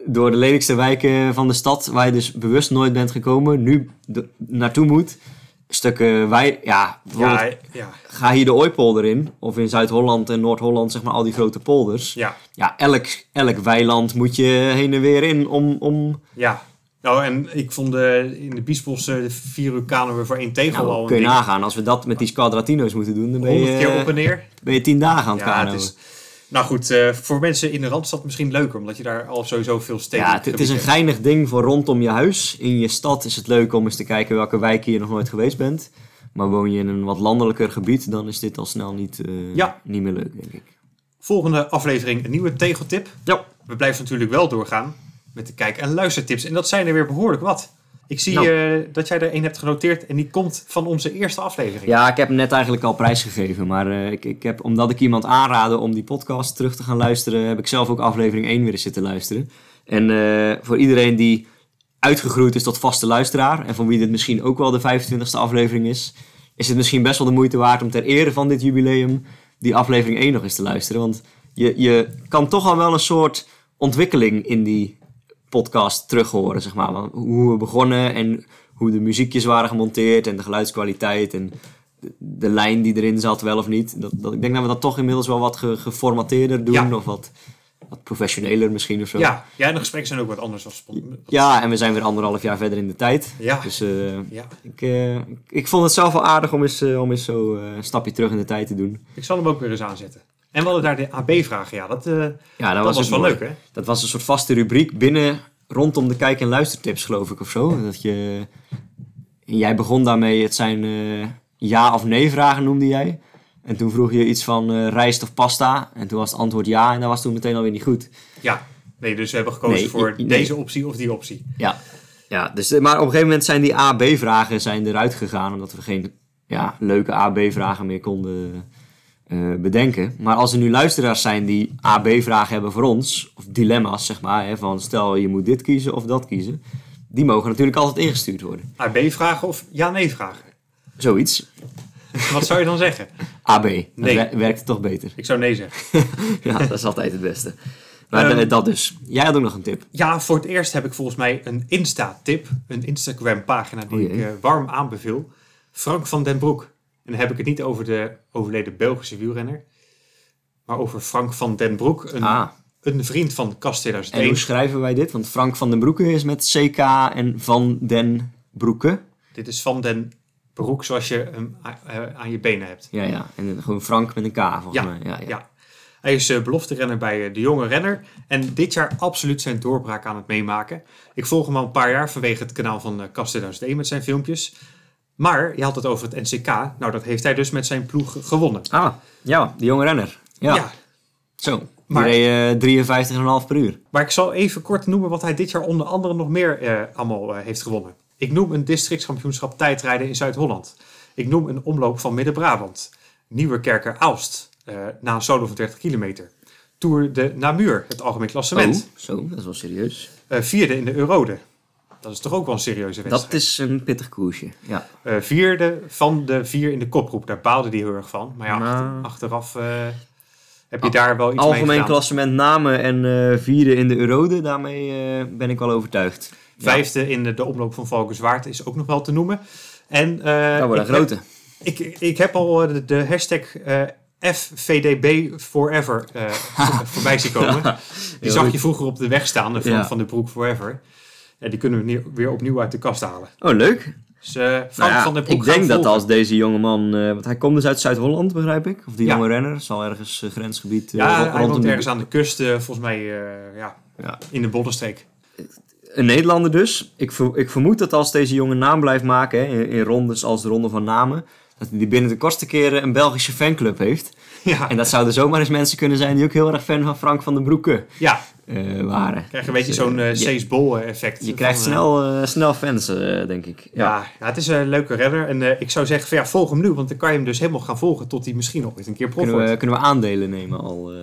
[SPEAKER 1] door de lelijkste wijken van de stad, waar je dus bewust nooit bent gekomen, nu d- naartoe moet. Stukken wij, ja, bijvoorbeeld,
[SPEAKER 2] ja, ja,
[SPEAKER 1] ga hier de Ooipolder in, of in Zuid-Holland en Noord-Holland, zeg maar al die grote polders.
[SPEAKER 2] ja,
[SPEAKER 1] Ja, elk, elk weiland moet je heen en weer in om, om
[SPEAKER 2] ja. Nou, en ik vond de, in de Biesbos eh, de vier orkanen weer voor één tegel al
[SPEAKER 1] Nou,
[SPEAKER 2] een
[SPEAKER 1] kun je
[SPEAKER 2] ding.
[SPEAKER 1] nagaan, als we dat met die Squadratino's moeten doen, dan ben
[SPEAKER 2] Honderd keer op
[SPEAKER 1] je,
[SPEAKER 2] en neer.
[SPEAKER 1] ben je tien dagen aan het
[SPEAKER 2] Ja,
[SPEAKER 1] kanoën.
[SPEAKER 2] het is... Nou goed, eh, voor mensen in de Randstad misschien leuker, omdat je daar al sowieso veel steden
[SPEAKER 1] Ja, het, het is een geinig ding voor rondom je huis. In je stad is het leuk om eens te kijken welke wijk je nog nooit geweest bent. Maar woon je in een wat landelijker gebied, dan is dit al snel niet, eh,
[SPEAKER 2] Ja.
[SPEAKER 1] niet meer leuk, denk ik.
[SPEAKER 2] Volgende aflevering een nieuwe tegeltip.
[SPEAKER 1] Ja,
[SPEAKER 2] We blijven natuurlijk wel doorgaan met de kijk- en luistertips. En dat zijn er weer behoorlijk wat. Ik zie
[SPEAKER 1] Nou.
[SPEAKER 2] eh, dat jij er één hebt genoteerd en die komt van onze eerste aflevering.
[SPEAKER 1] ja ik heb hem net eigenlijk al prijsgegeven. Maar eh, ik, ik heb, omdat ik iemand aanraadde om die podcast terug te gaan luisteren, heb ik zelf ook aflevering 1 weer eens zitten luisteren. En eh, voor iedereen die uitgegroeid is tot vaste luisteraar, en van wie dit misschien ook wel de 25e aflevering is, is het misschien best wel de moeite waard om ter ere van dit jubileum die aflevering 1 nog eens te luisteren. Want je, je kan toch al wel een soort ontwikkeling in die podcast terug horen, zeg maar. Want Hoe we begonnen en hoe de muziekjes waren gemonteerd en de geluidskwaliteit en de, de lijn die erin zat, wel of niet. Dat, dat, ik denk dat we dat toch inmiddels wel wat ge- geformateerder doen
[SPEAKER 2] Ja.
[SPEAKER 1] of wat, wat professioneler misschien of zo.
[SPEAKER 2] Ja, ja, en de gesprekken zijn ook wat anders dan spontaan.
[SPEAKER 1] Ja, en we zijn weer anderhalf jaar verder in de tijd.
[SPEAKER 2] Ja.
[SPEAKER 1] Dus eh,
[SPEAKER 2] Ja.
[SPEAKER 1] ik, eh, ik- ik vond het zelf wel aardig om eens, eh, om eens zo eh, een stapje terug in de tijd te doen.
[SPEAKER 2] Ik zal hem ook weer eens aanzetten. En we hadden daar de AB-vragen. Ja, dat, eh, dat,
[SPEAKER 1] Ja, Nou, dat,
[SPEAKER 2] was,
[SPEAKER 1] ook
[SPEAKER 2] wel
[SPEAKER 1] mooi.
[SPEAKER 2] leuk, hè?
[SPEAKER 1] Dat was een soort vaste rubriek binnen rondom de kijk- en luistertips, geloof ik, of zo. Dat je... en jij begon daarmee, het zijn eh, ja of nee vragen, noemde jij. En toen vroeg je iets van eh, rijst of pasta. En toen was het antwoord ja, en dat was toen meteen alweer niet goed.
[SPEAKER 2] Ja. Nee, dus we hebben gekozen
[SPEAKER 1] Nee,
[SPEAKER 2] voor
[SPEAKER 1] i- i- nee.
[SPEAKER 2] deze optie of die optie.
[SPEAKER 1] Ja, ja dus, eh, maar op een gegeven moment zijn die AB-vragen zijn eruit gegaan. Omdat we geen ja, leuke AB-vragen meer konden eh, bedenken. Maar als er nu luisteraars zijn die AB-vragen hebben voor ons. Of dilemma's, zeg maar. Hè, van stel je moet dit kiezen of dat kiezen. Die mogen natuurlijk altijd ingestuurd worden.
[SPEAKER 2] AB-vragen of ja-nee-vragen?
[SPEAKER 1] Zoiets.
[SPEAKER 2] Wat zou je dan zeggen?
[SPEAKER 1] AB. Dat
[SPEAKER 2] Nee.
[SPEAKER 1] wer- werkt toch beter.
[SPEAKER 2] Ik zou nee zeggen.
[SPEAKER 1] ja, dat is altijd het beste. Maar
[SPEAKER 2] Ehm.
[SPEAKER 1] eh, dat dus. Jij had ook nog een tip.
[SPEAKER 2] Ja, voor het eerst heb ik volgens mij een Insta-tip. Een Instagram-pagina die
[SPEAKER 1] O Oh jee.
[SPEAKER 2] ik eh, warm aanbeveel. Frank van den Broek. En dan heb ik het niet over de overleden Belgische wielrenner. Maar over Frank van den Broek. Een,
[SPEAKER 1] Ah,
[SPEAKER 2] een vriend van Kast
[SPEAKER 1] en hoe
[SPEAKER 2] 2001.
[SPEAKER 1] schrijven wij dit? Want Frank van den Broeke is met CK en Van den Broeke.
[SPEAKER 2] Dit is van den Broek zoals je hem a- eh, aan je benen hebt.
[SPEAKER 1] Ja, ja. En dan gewoon Frank met een K, volgens
[SPEAKER 2] Ja,
[SPEAKER 1] mij. Ja, ja.
[SPEAKER 2] Ja. Hij is eh, belofte renner bij eh, de jonge renner. En dit jaar absoluut zijn doorbraak aan het meemaken. Ik volg hem al een paar jaar vanwege het kanaal van eh Kast 2001 met zijn filmpjes. Maar je had het over het NCK. Nou, dat heeft hij dus met zijn ploeg gewonnen.
[SPEAKER 1] Ah, ja, de jonge renner. Ja, zo.
[SPEAKER 2] Maar-
[SPEAKER 1] Die reed eh, 53,5 per uur.
[SPEAKER 2] Maar ik zal even kort noemen wat hij dit jaar onder andere nog meer eh, allemaal eh, heeft gewonnen. Ik noem een districtskampioenschap tijdrijden in Zuid-Holland. Ik noem een omloop van Midden-Brabant. Nieuwekerker Aalst, eh, na een solo van 30 kilometer. Tour de Namur, het algemeen klassement.
[SPEAKER 1] Oh, zo, dat is wel serieus.
[SPEAKER 2] Eh, vierde in de Eurode. Dat is toch ook wel een serieuze wedstrijd.
[SPEAKER 1] Dat is een pittig koersje. Ja.
[SPEAKER 2] Eh, vierde van de vier in de kopgroep. Daar baalde hij heel erg van. Maar ja, achter-
[SPEAKER 1] Nou.
[SPEAKER 2] achteraf eh, heb je daar wel iets mee
[SPEAKER 1] Ah, Algemeen
[SPEAKER 2] gedaan.
[SPEAKER 1] klassement namen en eh vierde in de Eurode, daarmee eh, ben ik wel overtuigd. Ja,
[SPEAKER 2] Vijfde in de, de omloop van Valkenswaard is ook nog wel te noemen. En, eh,
[SPEAKER 1] dat wordt
[SPEAKER 2] ik
[SPEAKER 1] een grote.
[SPEAKER 2] Heb, ik, ik heb al eh, de, de hashtag eh, FVDB Forever eh, voor- voorbij zien komen. Die
[SPEAKER 1] Heel
[SPEAKER 2] zag
[SPEAKER 1] goed.
[SPEAKER 2] je vroeger op de weg staan eh, van,
[SPEAKER 1] Ja.
[SPEAKER 2] van de broek Forever. En die kunnen we nie- weer opnieuw uit de kast halen.
[SPEAKER 1] Oh, leuk.
[SPEAKER 2] Dus eh, Frank
[SPEAKER 1] Nou ja,
[SPEAKER 2] van der Broek
[SPEAKER 1] ik denk
[SPEAKER 2] gaan
[SPEAKER 1] dat
[SPEAKER 2] volgen.
[SPEAKER 1] als deze jongeman... eh want hij komt dus uit Zuid-Holland, begrijp ik. Of die
[SPEAKER 2] Ja.
[SPEAKER 1] jonge renner. Zal ergens eh, grensgebied eh,
[SPEAKER 2] Ja,
[SPEAKER 1] rond-
[SPEAKER 2] hij
[SPEAKER 1] rondom
[SPEAKER 2] woont
[SPEAKER 1] de-
[SPEAKER 2] ergens aan de kust, eh, volgens mij eh, ja,
[SPEAKER 1] Ja.
[SPEAKER 2] in de Boddenstreek.
[SPEAKER 1] Een Nederlander dus. Ik, ver- ik vermoed dat als deze jongen naam blijft maken, hè, in, in rondes als de Ronde van Namen, dat hij binnen de kortste keren een Belgische fanclub heeft.
[SPEAKER 2] Ja,
[SPEAKER 1] En dat zouden zomaar eens mensen kunnen zijn die ook heel erg fan van Frank van den Broeke
[SPEAKER 2] ja.
[SPEAKER 1] eh, waren.
[SPEAKER 2] krijg je een beetje
[SPEAKER 1] Dus, eh,
[SPEAKER 2] zo'n eh
[SPEAKER 1] je-
[SPEAKER 2] Sees Bol eh, effect.
[SPEAKER 1] Je
[SPEAKER 2] van,
[SPEAKER 1] krijgt
[SPEAKER 2] eh,
[SPEAKER 1] snel, eh, snel fans, eh, denk ik. Ja.
[SPEAKER 2] ja. ja, het is een leuke redder. En eh, ik zou zeggen, van, ja, volg hem nu, want dan kan je hem dus helemaal gaan volgen tot hij misschien nog ooit een keer prof
[SPEAKER 1] Kunnen,
[SPEAKER 2] wordt.
[SPEAKER 1] we, kunnen we aandelen nemen al eh,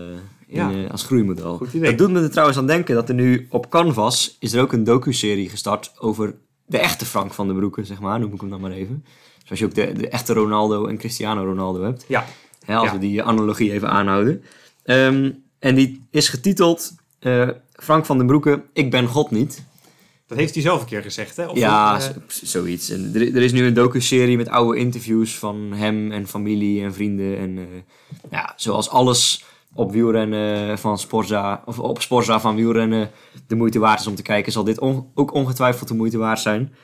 [SPEAKER 1] in,
[SPEAKER 2] Ja.
[SPEAKER 1] eh, als groeimodel.
[SPEAKER 2] Goed idee.
[SPEAKER 1] Dat doet me er trouwens aan denken dat er nu op Canvas is er ook een docu-serie gestart over de echte Frank van den Broeke, zeg maar. Noem ik hem dan maar even. Zoals je ook de, de echte Ronaldo en Cristiano Ronaldo hebt.
[SPEAKER 2] Ja,
[SPEAKER 1] Hè, als
[SPEAKER 2] Ja.
[SPEAKER 1] we die analogie even aanhouden. Ehm, en die is getiteld eh, Frank van den Broeke, Ik ben God niet.
[SPEAKER 2] dat heeft hij zelf een keer gezegd, hè? Of
[SPEAKER 1] ja,
[SPEAKER 2] eh,
[SPEAKER 1] z- z- zoiets. En er, er is nu een docuserie met oude interviews van hem en familie en vrienden. En eh, ja, zoals alles op wielrennen van Sporza, of op Sporza van wielrennen de moeite waard is om te kijken, zal dit on- ook ongetwijfeld de moeite waard zijn.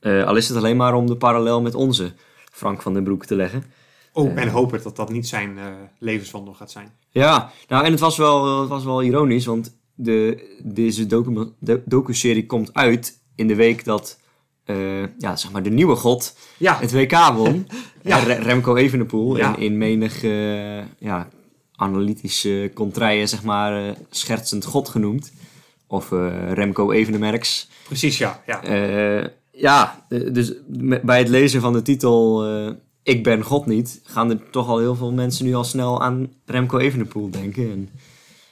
[SPEAKER 1] Eh, al is het alleen maar om de parallel met onze Frank van den Broeke te leggen.
[SPEAKER 2] oh, en hopen dat dat niet zijn eh, levenswandel gaat zijn.
[SPEAKER 1] Ja, nou en het was wel, het was wel ironisch, want de, deze docu- do- docu-serie komt uit in de week dat eh, ja, zeg maar de nieuwe god
[SPEAKER 2] Ja,
[SPEAKER 1] het WK won.
[SPEAKER 2] Ja.
[SPEAKER 1] Re- Remco Evenepoel.
[SPEAKER 2] Ja.
[SPEAKER 1] En in menig eh, ja, analytische contraien, zeg maar, eh, schertsend god genoemd. Of eh, Remco Evenemerks.
[SPEAKER 2] precies, ja. ja.
[SPEAKER 1] Eh, ja, eh, dus me- bij het lezen van de titel eh, Ik ben God niet, gaan er toch al heel veel mensen nu al snel aan Remco Evenepoel denken. En,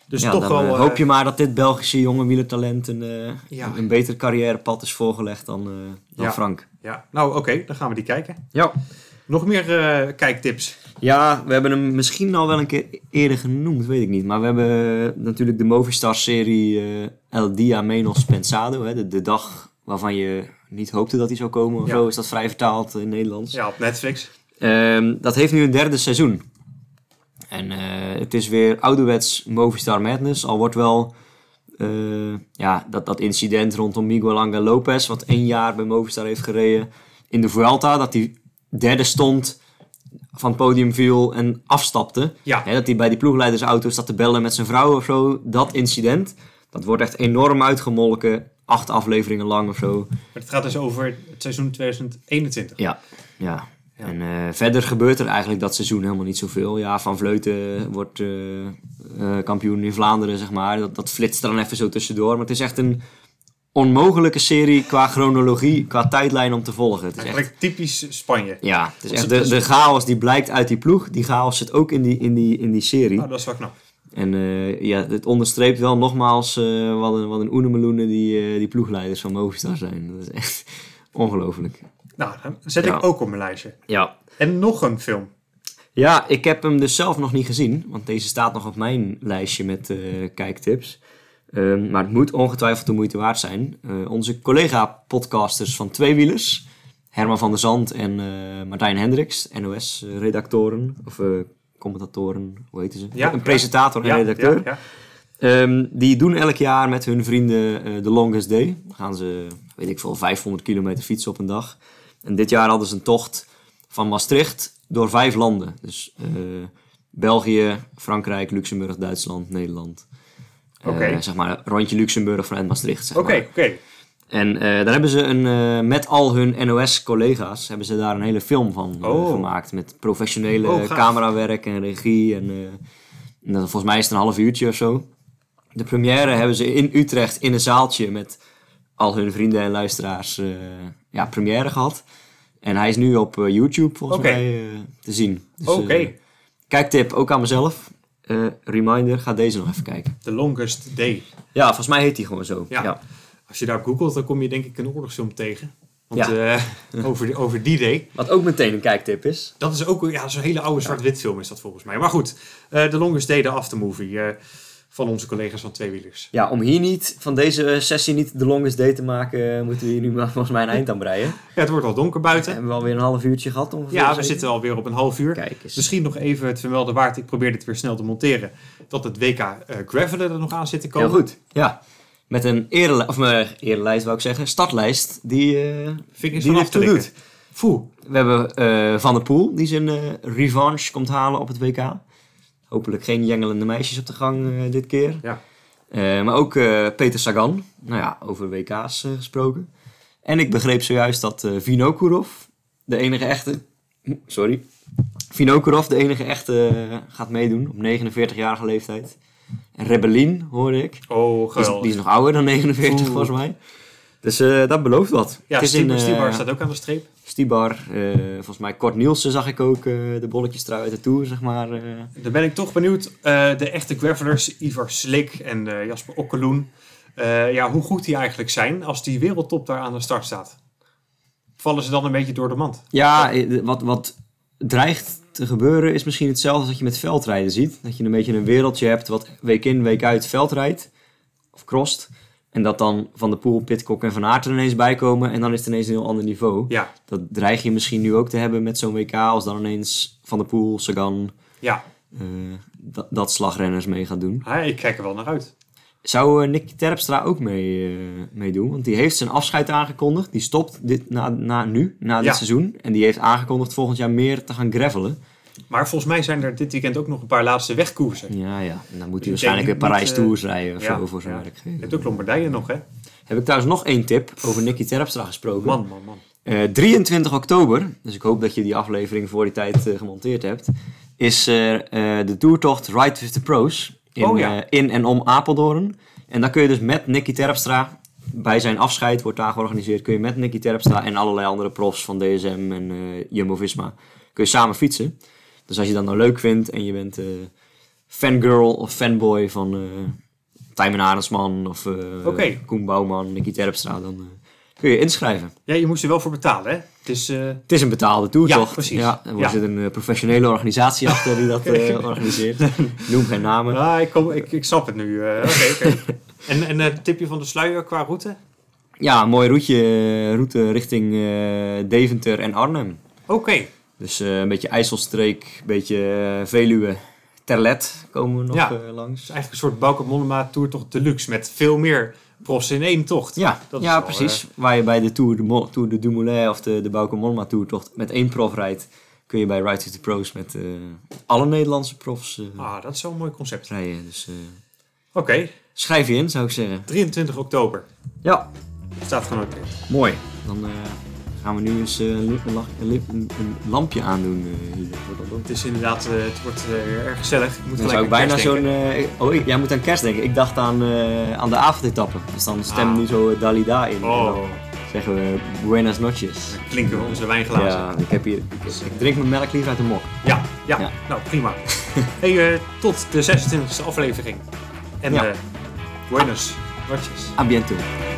[SPEAKER 2] Dus
[SPEAKER 1] ja,
[SPEAKER 2] toch
[SPEAKER 1] dan,
[SPEAKER 2] wel...
[SPEAKER 1] eh,
[SPEAKER 2] eh,
[SPEAKER 1] hoop je maar dat dit Belgische jonge wielertalent een, eh,
[SPEAKER 2] Ja.
[SPEAKER 1] een beter carrièrepad is voorgelegd dan, eh, dan
[SPEAKER 2] Ja.
[SPEAKER 1] Frank.
[SPEAKER 2] Ja, nou oké, dan gaan we die kijken.
[SPEAKER 1] Ja.
[SPEAKER 2] Nog meer eh, kijktips.
[SPEAKER 1] Ja, we hebben hem misschien al wel een keer eerder genoemd, weet ik niet. Maar we hebben eh, natuurlijk de Movistar-serie eh, El Dia Menos Pensado. Hè, de, de dag waarvan je niet hoopte dat hij zou komen of
[SPEAKER 2] Ja.
[SPEAKER 1] zo, is dat vrij vertaald in het Nederlands.
[SPEAKER 2] Ja, op Netflix.
[SPEAKER 1] Ehm, dat heeft nu een derde seizoen. En eh, het is weer ouderwets Movistar Madness. Al wordt wel eh, ja, dat, dat incident rondom Miguel Angel Lopez, wat één jaar bij Movistar heeft gereden, in de Vuelta, dat hij derde stond, van het podium viel en afstapte.
[SPEAKER 2] Ja.
[SPEAKER 1] Hè, dat hij bij die ploegleidersauto staat te bellen met zijn vrouw of zo. Dat incident, dat wordt echt enorm uitgemolken. Acht afleveringen lang of zo.
[SPEAKER 2] Maar het gaat dus over het seizoen 2021.
[SPEAKER 1] Ja, ja.
[SPEAKER 2] Ja.
[SPEAKER 1] En eh, verder gebeurt er eigenlijk dat seizoen helemaal niet zoveel. Ja, Van Vleuten wordt eh, eh, kampioen in Vlaanderen, zeg maar. Dat, dat flitst er dan even zo tussendoor. Maar het is echt een onmogelijke serie qua chronologie, qua tijdlijn om te volgen. Het is echt,
[SPEAKER 2] Eigenlijk typisch Spanje.
[SPEAKER 1] ja, het is
[SPEAKER 2] Want
[SPEAKER 1] echt
[SPEAKER 2] het
[SPEAKER 1] de,
[SPEAKER 2] is-
[SPEAKER 1] de chaos die blijkt uit die ploeg, die chaos zit ook in die, in die, in die serie.
[SPEAKER 2] Nou, dat is wel knap.
[SPEAKER 1] En eh, ja, het onderstreept wel nogmaals eh, wat een, wat een oenemeloenen die, eh, die ploegleiders van Movistar zijn. Dat is echt ongelooflijk.
[SPEAKER 2] Nou, dan zet
[SPEAKER 1] Ja.
[SPEAKER 2] ik ook op mijn lijstje.
[SPEAKER 1] Ja,
[SPEAKER 2] En nog een film.
[SPEAKER 1] Ja, ik heb hem dus zelf nog niet gezien, want deze staat nog op mijn lijstje met eh, kijktips. Ehm, maar het moet ongetwijfeld de moeite waard zijn. Eh, onze collega-podcasters van Tweewielers, Herman van der Zand en eh, Martijn Hendricks, NOS-redactoren of eh, commentatoren, hoe heten ze?
[SPEAKER 2] Ja,
[SPEAKER 1] een
[SPEAKER 2] ja.
[SPEAKER 1] presentator en
[SPEAKER 2] Ja,
[SPEAKER 1] redacteur.
[SPEAKER 2] ja, ja.
[SPEAKER 1] Ehm, die doen elk jaar met hun vrienden eh The Longest Day. Dan gaan ze, weet ik veel, 500 kilometer fietsen op een dag. En dit jaar hadden ze een tocht van Maastricht door vijf landen. Dus eh, België, Frankrijk, Luxemburg, Duitsland, Nederland. Eh,
[SPEAKER 2] Oké.
[SPEAKER 1] zeg maar rondje Luxemburg vanuit Maastricht. Zeg
[SPEAKER 2] Oké,
[SPEAKER 1] maar.
[SPEAKER 2] oké.
[SPEAKER 1] En eh, daar hebben ze een, eh, met al hun NOS-collega's hebben ze daar een hele film van eh,
[SPEAKER 2] Oh.
[SPEAKER 1] gemaakt. Met professionele
[SPEAKER 2] Oh, gaaf.
[SPEAKER 1] camerawerk en regie. En, eh, en dat- volgens mij is het een half uurtje of zo. De première hebben ze in Utrecht in een zaaltje met al hun vrienden en luisteraars eh, ja, première gehad. En hij is nu op eh, YouTube volgens
[SPEAKER 2] Oké.
[SPEAKER 1] mij eh, te zien. Dus,
[SPEAKER 2] Oké,
[SPEAKER 1] eh, kijktip ook aan mezelf. Eh, reminder, ga deze nog even kijken.
[SPEAKER 2] The Longest Day.
[SPEAKER 1] Ja, volgens mij heet hij gewoon zo.
[SPEAKER 2] Ja.
[SPEAKER 1] ja.
[SPEAKER 2] Als je daar googelt, dan kom je denk ik een oorlogsfilm tegen. Want
[SPEAKER 1] Ja.
[SPEAKER 2] eh, over, die- over die day.
[SPEAKER 1] Wat ook meteen een kijktip is.
[SPEAKER 2] Dat is ook ja, zo'n hele oude zwart-wit film is dat volgens mij. Maar goed, eh The Longest Day, de aftermovie eh, van onze collega's van Tweewielers.
[SPEAKER 1] Ja, om hier niet, van deze sessie niet de longest day te maken, eh, moeten we hier nu maar volgens mij een eind aan breien.
[SPEAKER 2] Ja, het wordt al donker buiten.
[SPEAKER 1] Hebben we alweer een half uurtje gehad ongeveer?
[SPEAKER 2] Ja, we
[SPEAKER 1] zeker?
[SPEAKER 2] zitten Dus- alweer op een half uur.
[SPEAKER 1] Kijk eens.
[SPEAKER 2] Misschien nog even het vermelden waard, ik probeer dit weer snel te monteren, dat het WK eh Gravelen er nog aan zit te komen.
[SPEAKER 1] Heel goed. Ja, met een erelijst, of eh, erelijst wou ik zeggen, startlijst die, eh
[SPEAKER 2] Vingers
[SPEAKER 1] die
[SPEAKER 2] vanaf
[SPEAKER 1] dit
[SPEAKER 2] te
[SPEAKER 1] toe
[SPEAKER 2] likken.
[SPEAKER 1] doet.
[SPEAKER 2] Foe,
[SPEAKER 1] We hebben eh, Van der Poel, die zijn eh, revanche komt halen op het WK. Hopelijk geen jengelende meisjes op de gang eh, dit keer.
[SPEAKER 2] Ja.
[SPEAKER 1] Eh, maar ook eh, Peter Sagan, nou ja, over WK's eh, gesproken. En ik begreep zojuist dat eh Vinokurov, de enige echte... Sorry. Vinokurov, de enige echte, eh, gaat meedoen op 49-jarige leeftijd. En Rebellin, hoorde ik.
[SPEAKER 2] Oh,
[SPEAKER 1] Die is,
[SPEAKER 2] geweldig.
[SPEAKER 1] die is nog ouder dan 49,
[SPEAKER 2] Oeh.
[SPEAKER 1] volgens mij. Dus eh, dat belooft wat.
[SPEAKER 2] ja,
[SPEAKER 1] in,
[SPEAKER 2] Stieber,
[SPEAKER 1] eh,
[SPEAKER 2] Stieber staat ook aan de streep.
[SPEAKER 1] Stibar, eh, volgens mij Kort Nielsen zag ik ook, eh, de bolletjes trui uit de Tour, zeg maar. eh.
[SPEAKER 2] Dan ben ik toch benieuwd, eh, de echte gravelers, Ivar Slik en eh, Jasper Okkeloen, eh, ja, hoe goed die eigenlijk zijn als die wereldtop daar aan de start staat. Vallen ze dan een beetje door de mand?
[SPEAKER 1] Ja, eh, wat, wat dreigt te gebeuren is misschien hetzelfde als wat je met veldrijden ziet. Dat je een beetje een wereldje hebt wat week in, week uit veldrijdt. Of crossed. En dat dan Van de Poel, Pitcock en Van Aert er ineens bij komen. En dan is het ineens een heel ander niveau.
[SPEAKER 2] Ja,
[SPEAKER 1] Dat dreig je misschien nu ook te hebben met zo'n WK. Als dan ineens Van de Poel, Sagan,
[SPEAKER 2] ja.
[SPEAKER 1] eh, dat, dat slagrenners mee gaat doen.
[SPEAKER 2] Ah, ik kijk er wel naar uit.
[SPEAKER 1] Zou eh, Nick Terpstra ook mee, eh meedoen? Want die heeft zijn afscheid aangekondigd. Die stopt dit na, na nu, na dit
[SPEAKER 2] Ja.
[SPEAKER 1] seizoen. En die heeft aangekondigd volgend jaar meer te gaan gravelen.
[SPEAKER 2] Maar volgens mij zijn er dit weekend ook nog een paar laatste wegkoersen.
[SPEAKER 1] Ja, ja. En dan moet hij
[SPEAKER 2] Dus ik
[SPEAKER 1] waarschijnlijk weer
[SPEAKER 2] denk niet,
[SPEAKER 1] Parijs
[SPEAKER 2] eh,
[SPEAKER 1] Tours rijden of
[SPEAKER 2] ja,
[SPEAKER 1] zo, voor zijn
[SPEAKER 2] ja.
[SPEAKER 1] werkgever.
[SPEAKER 2] Je hebt ook Lombardije nog, hè?
[SPEAKER 1] Heb ik trouwens nog één tip over Nicky Terpstra gesproken.
[SPEAKER 2] Man, man, man.
[SPEAKER 1] Eh, 23 oktober, dus ik hoop dat je die aflevering voor die tijd eh, gemonteerd hebt, is eh, eh, de toertocht Ride with the Pros in,
[SPEAKER 2] Oh ja.
[SPEAKER 1] eh, in en om Apeldoorn. En dan kun je dus met Nicky Terpstra, bij zijn afscheid wordt daar georganiseerd, kun je met Nicky Terpstra en allerlei andere profs van DSM en eh, Jumbo-Visma, kun je samen fietsen. Dus als je dat nou leuk vindt en je bent eh, fangirl of fanboy van eh Tijmen Arendsman of eh
[SPEAKER 2] Oké.
[SPEAKER 1] Koen Bouwman, Nicky Terpstra, dan eh, kun je inschrijven.
[SPEAKER 2] Ja, je moest er wel voor betalen, hè? Het is, eh,
[SPEAKER 1] Het is een betaalde toertocht.
[SPEAKER 2] Ja, precies.
[SPEAKER 1] Ja, en er
[SPEAKER 2] Ja.
[SPEAKER 1] zit een eh, professionele organisatie achter die dat eh, organiseert. Noem geen namen.
[SPEAKER 2] ah, ik, kom, ik, ik snap het nu. eh, Oké, oké. en en eh, tipje van de sluier qua route?
[SPEAKER 1] Ja, een mooi routje, eh, route richting eh, Deventer en Arnhem.
[SPEAKER 2] Oké.
[SPEAKER 1] Dus eh, een beetje IJsselstreek, een beetje eh, Veluwe, Terlet komen we nog
[SPEAKER 2] Ja.
[SPEAKER 1] eh, langs.
[SPEAKER 2] Dus eigenlijk een soort Bauke Mollema toertocht deluxe met veel meer profs in één tocht.
[SPEAKER 1] Ja,
[SPEAKER 2] Dat is
[SPEAKER 1] ja
[SPEAKER 2] wel, eh,
[SPEAKER 1] precies. Waar je bij de Tour de, Mo- Tour de Dumoulin of de, de Bauke Mollema Tourtocht met één prof rijdt, kun je bij Ride to the Pros met eh, alle Nederlandse profs eh,
[SPEAKER 2] Ah, dat is zo'n mooi concept. Oké,
[SPEAKER 1] rijden. Dus eh, schrijf je in, zou ik zeggen.
[SPEAKER 2] 23 oktober.
[SPEAKER 1] Ja,
[SPEAKER 2] Staat genoteerd.
[SPEAKER 1] mooi. Dan eh, gaan we nu eens eh, een, lip- een lach- een lip- een- een lampje aandoen. eh, hier. Wordt dat ook-
[SPEAKER 2] Het is inderdaad, eh, het wordt eh, erg gezellig. Ik moet
[SPEAKER 1] Dan
[SPEAKER 2] gelijk
[SPEAKER 1] zou ik
[SPEAKER 2] aan kerst
[SPEAKER 1] bijna zo'n...
[SPEAKER 2] denken.
[SPEAKER 1] eh, oh, ik- jij moet aan kerst denken. Ik dacht aan, eh, aan de avondetappe. Dus dan stemmen
[SPEAKER 2] Ah.
[SPEAKER 1] we nu zo eh, Dalida in. En dan
[SPEAKER 2] Oh,
[SPEAKER 1] zeggen we buenas noches.
[SPEAKER 2] dan klinken we onze wijnglazen.
[SPEAKER 1] Ja, ik, heb hier, ik, ik drink mijn melk liever uit de mok.
[SPEAKER 2] Ja, ja,
[SPEAKER 1] Ja.
[SPEAKER 2] nou prima. hey, eh, tot de 26e aflevering. En
[SPEAKER 1] Ja.
[SPEAKER 2] eh buenos noches.
[SPEAKER 1] A bientôt.
[SPEAKER 2] Ja.